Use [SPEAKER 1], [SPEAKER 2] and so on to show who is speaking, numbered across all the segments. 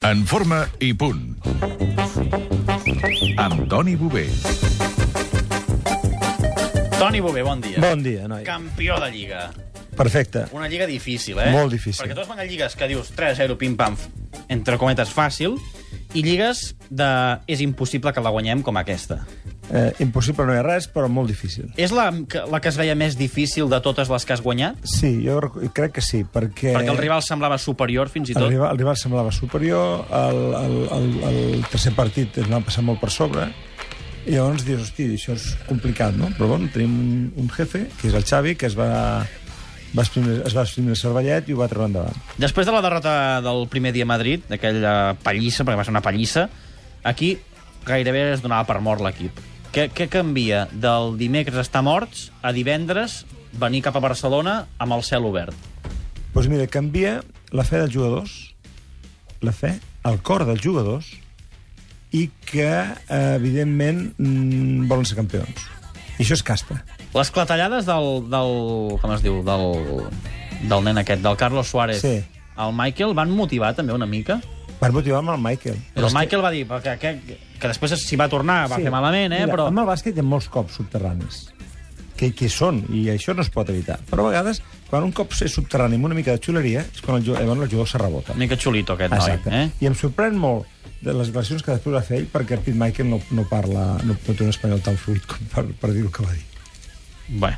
[SPEAKER 1] En forma i punt. Amb Toni Bové.
[SPEAKER 2] Toni Bové, bon dia.
[SPEAKER 3] Bon dia, noi.
[SPEAKER 2] Campió de Lliga.
[SPEAKER 3] Perfecte.
[SPEAKER 2] Una lliga difícil, eh?
[SPEAKER 3] Molt difícil.
[SPEAKER 2] Perquè totes van a lligues que dius 3-0, pim-pam, entre cometes, fàcil, i lligues de és impossible que la guanyem com aquesta.
[SPEAKER 3] Eh, impossible no hi ha res, però molt difícil.
[SPEAKER 2] És la, que- la que es veia més difícil de totes les que has guanyat?
[SPEAKER 3] Sí, jo rec- crec que sí, perquè...
[SPEAKER 2] Perquè el rival semblava superior, fins i tot.
[SPEAKER 3] Eh. El rival, el rival semblava superior, el, el, el, el tercer partit ens van passar molt per sobre, i llavors dius, hosti, això és complicat, no? Però bueno, tenim un, un jefe, que és el Xavi, que es va, va exprimir, es va exprimir el cervellet i ho va treure endavant.
[SPEAKER 2] Després de la derrota del primer dia a Madrid, d'aquella pallissa, perquè va ser una pallissa, aquí gairebé es donava per mort l'equip. Què, què canvia del dimecres estar morts a divendres venir cap a Barcelona amb el cel obert?
[SPEAKER 3] Doncs pues mira, canvia la fe dels jugadors, la fe, el cor dels jugadors, i que, eh, evidentment, mm, volen ser campions. I això és casta.
[SPEAKER 2] Les clatellades del... del com es diu? Del, del nen aquest, del Carlos Suárez.
[SPEAKER 3] Sí.
[SPEAKER 2] El Michael van motivar també una mica.
[SPEAKER 3] Per motivar-me el Michael.
[SPEAKER 2] Però el Michael va dir que, que, que després s'hi va tornar, va fer malament, eh?
[SPEAKER 3] Mira,
[SPEAKER 2] però...
[SPEAKER 3] Amb el bàsquet hi ha molts cops subterranis, que, que hi són, i això no es pot evitar. Però a vegades, quan un cop és subterrani amb una mica de xuleria, és quan el, ju- eh, bueno, el jugador se rebota.
[SPEAKER 2] Una mica xulito, aquest noi. Eh?
[SPEAKER 3] I em sorprèn molt de les declaracions que després va fer ell, perquè Pete Michael no, no parla, no, no té un espanyol tan fluid com per, per dir el que va dir.
[SPEAKER 2] Bé.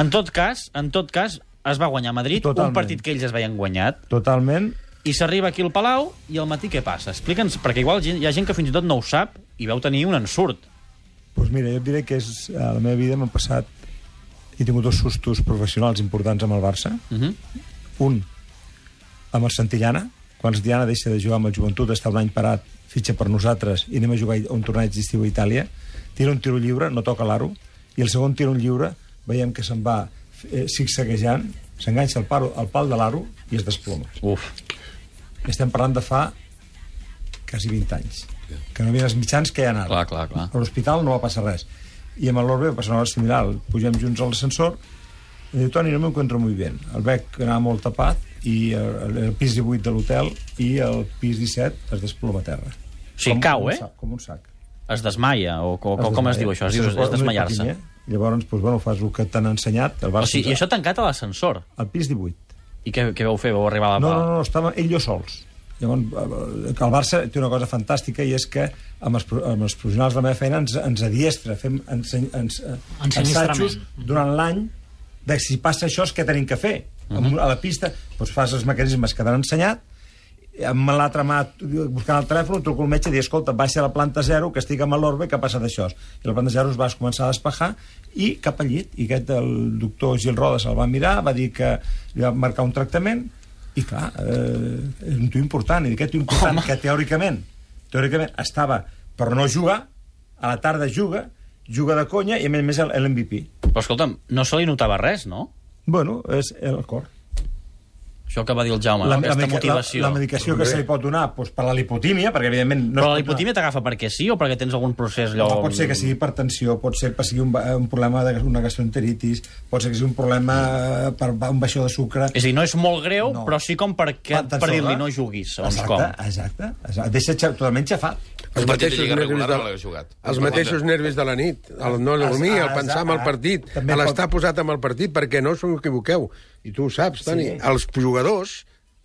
[SPEAKER 2] En tot cas, en tot cas, es va guanyar a Madrid,
[SPEAKER 3] Hm. Totalment.
[SPEAKER 2] un partit que ells es veien guanyat,
[SPEAKER 3] Totalment
[SPEAKER 2] i s'arriba aquí al Palau, i al matí què passa? Explica'ns, perquè igual gent- hi ha gent que fins i tot no ho sap i veu tenir un ensurt.
[SPEAKER 3] Doncs mira, jo et diré que és, a la meva vida m'han passat... He tingut dos sustos professionals importants amb el Barça.
[SPEAKER 2] Uh -huh.
[SPEAKER 3] Un, amb el Santillana, quan el Santillana deixa de jugar amb el Joventut, està un any parat, fitxa per nosaltres, i anem a jugar a un torneig d'estiu a Itàlia, tira un tiro lliure, no toca l'aro, i el segon tiro lliure, veiem que se'n va eh, zigzaguejant, s'enganxa al pal, al pal de l'aro i es desploma.
[SPEAKER 2] Uf.
[SPEAKER 3] Estem parlant de fa quasi 20 anys, que no hi havia els mitjans que hi ha ara.
[SPEAKER 2] Clar, clar, clar.
[SPEAKER 3] A l'hospital no va passar res. I amb l'Orbe va passar una cosa similar. Pugem junts a l'ascensor, i diu, Toni, no m'encontro molt bé. El veig que anava molt tapat, i el, el pis 18 de l'hotel i el pis 17 es desploma a terra.
[SPEAKER 2] Sí, cau,
[SPEAKER 3] un
[SPEAKER 2] eh?
[SPEAKER 3] Sac, com un sac.
[SPEAKER 2] Es desmaia, o, o, com es diu això? Es diu, és desmaiar-se.
[SPEAKER 3] Llavors, doncs, bueno, fas el que t'han ensenyat. El
[SPEAKER 2] O
[SPEAKER 3] Barça,
[SPEAKER 2] sigui, I això tancat a l'ascensor.
[SPEAKER 3] Al pis 18.
[SPEAKER 2] I què, què vau fer? Vau arribar a la...
[SPEAKER 3] No, no, no, estava ell i jo sols. Llavors, eh, el Barça té una cosa fantàstica i és que amb els, pro- amb els professionals de la meva feina ens, ens adiestra, fem ense, ens, eh,
[SPEAKER 4] Ensinistrament.
[SPEAKER 3] assajos durant l'any de si passa això és què tenim que fer. Uh -huh. A la pista doncs fas els mecanismes que t'han ensenyat amb l'altra mà buscant el telèfon, truco al metge i dic, escolta, baixa a la planta 0, que estic amb l'orbe, que ha passat això. I la planta 0 es va començar a despejar i cap al llit. I aquest, el doctor Gil Roda se'l va mirar, va dir que li va marcar un tractament, i clar, eh, és un tu important, i aquest tu important, Home. que teòricament, teòricament estava per no jugar, a la tarda juga, juga de conya, i a més a més l'MVP.
[SPEAKER 2] Però escolta'm, no se li notava res, no?
[SPEAKER 3] Bueno, és el cor.
[SPEAKER 2] Això que va dir el Jaume, no? aquesta
[SPEAKER 3] medica-
[SPEAKER 2] motivació.
[SPEAKER 3] la, la medicació que se li pot donar doncs, per la lipotímia, perquè evidentment... No es
[SPEAKER 2] Però la
[SPEAKER 3] pot donar-
[SPEAKER 2] lipotímia t'agafa perquè sí o perquè tens algun procés allò...
[SPEAKER 3] No, pot ser que sigui per tensió, pot ser que sigui un, ba- un problema d'una gastroenteritis, pot ser que sigui un problema eh, per ba- un baixó de sucre...
[SPEAKER 2] És a dir, no és molt greu,
[SPEAKER 3] No.
[SPEAKER 2] no. però sí com perquè,
[SPEAKER 3] Pantes
[SPEAKER 2] per dir-li
[SPEAKER 3] sorda.
[SPEAKER 2] no juguis, segons
[SPEAKER 3] eh? exacte,
[SPEAKER 2] com.
[SPEAKER 3] Exacte, exacte. Et Deixa xa- totalment xafat.
[SPEAKER 5] Els
[SPEAKER 6] partit de
[SPEAKER 5] mateixos
[SPEAKER 6] Lliga
[SPEAKER 5] nervis
[SPEAKER 6] regular
[SPEAKER 5] de,
[SPEAKER 6] no l'heu jugat.
[SPEAKER 5] els mateixos nervis de la nit, el no dormir, el pensar en el partit,
[SPEAKER 3] També pot-
[SPEAKER 5] l'estar posat amb el partit, perquè no us equivoqueu. I tu ho saps, Toni,
[SPEAKER 3] Sí.
[SPEAKER 5] els jugadors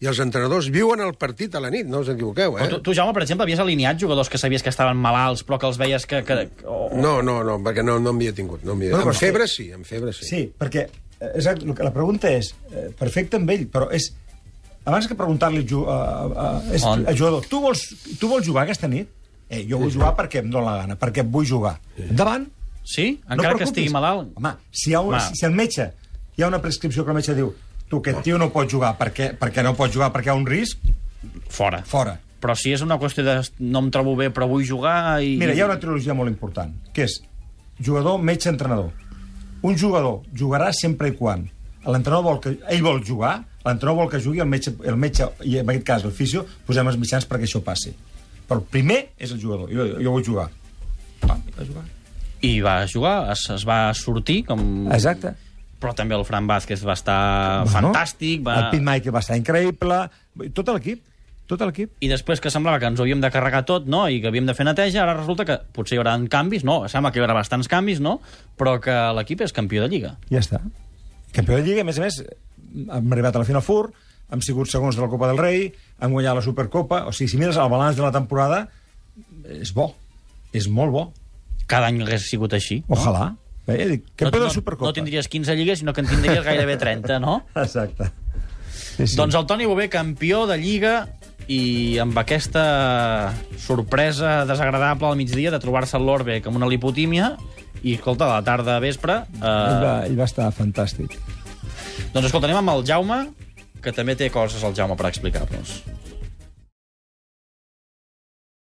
[SPEAKER 5] i els entrenadors viuen el partit a la nit, no us equivoqueu, eh?
[SPEAKER 2] Però Tu, tu, Jaume, per exemple, havies alineat jugadors que sabies que estaven malalts, però que els veies que... que... Oh.
[SPEAKER 5] No, no, no, perquè no, no m'hi he tingut. No m'hi he...
[SPEAKER 3] No,
[SPEAKER 5] amb
[SPEAKER 3] però-
[SPEAKER 5] febre sí, amb febre sí.
[SPEAKER 3] Sí, perquè eh, exacte, el que- la pregunta és eh, perfecte amb ell, però és... Abans que preguntar-li al ju- a, a, a, és-
[SPEAKER 2] On?
[SPEAKER 3] al jugador, tu vols, tu vols jugar aquesta nit? Eh, jo vull jugar perquè em dóna la gana, perquè vull jugar. Endavant.
[SPEAKER 2] Sí? Encara que
[SPEAKER 3] preocupis.
[SPEAKER 2] estigui malalt?
[SPEAKER 3] Home, si, hi ha un,
[SPEAKER 2] Home.
[SPEAKER 3] si, si el metge, hi ha una prescripció que el metge diu tu, aquest tio no pot jugar perquè, perquè no pot jugar perquè hi ha un risc,
[SPEAKER 2] Fora.
[SPEAKER 3] fora.
[SPEAKER 2] Però si és una qüestió de no em trobo bé, però vull jugar i...
[SPEAKER 3] Mira, hi ha una trilogia molt important, que és jugador, metge, entrenador. Un jugador jugarà sempre i quan l'entrenador vol que... Ell vol jugar, l'entrenador vol que jugui, el metge, el metge, i en aquest cas el fisio, posem els mitjans perquè això passi. Però el primer és el jugador. Jo, jo vull jugar. Va, a jugar.
[SPEAKER 2] I va jugar, es, es va sortir, com...
[SPEAKER 3] Exacte.
[SPEAKER 2] Però també el Fran Vázquez va estar fantàstic, va...
[SPEAKER 3] El Pete Michael va estar increïble, tot l'equip. Tot l'equip.
[SPEAKER 2] i després que semblava que ens ho havíem de carregar tot no? i que havíem de fer neteja, ara resulta que potser hi haurà canvis, no, sembla que hi haurà bastants canvis, no? però que l'equip és campió de Lliga.
[SPEAKER 3] Ja està. Campió de Lliga, a més a més, hem arribat a la final fur, hem sigut segons de la Copa del Rei, hem guanyat la Supercopa... O sigui, si mires el balanç de la temporada, és bo. És molt bo.
[SPEAKER 2] Cada any hagués sigut així.
[SPEAKER 3] Ojalà. Bé, ja dic, campió de la Supercopa.
[SPEAKER 2] No tindries 15 lligues, sinó que en tindries gairebé 30, no?
[SPEAKER 3] Exacte. Sí,
[SPEAKER 2] Sí. Doncs el Toni Bové, campió de Lliga, i amb aquesta sorpresa desagradable al migdia de trobar-se el Lorbeck amb una lipotímia, i, escolta, a la tarda a vespre...
[SPEAKER 3] Ell, va,
[SPEAKER 2] Eh,
[SPEAKER 3] ell va estar fantàstic.
[SPEAKER 2] doncs, escolta, anem amb el Jaume, que també té coses el Jaume per explicar-nos.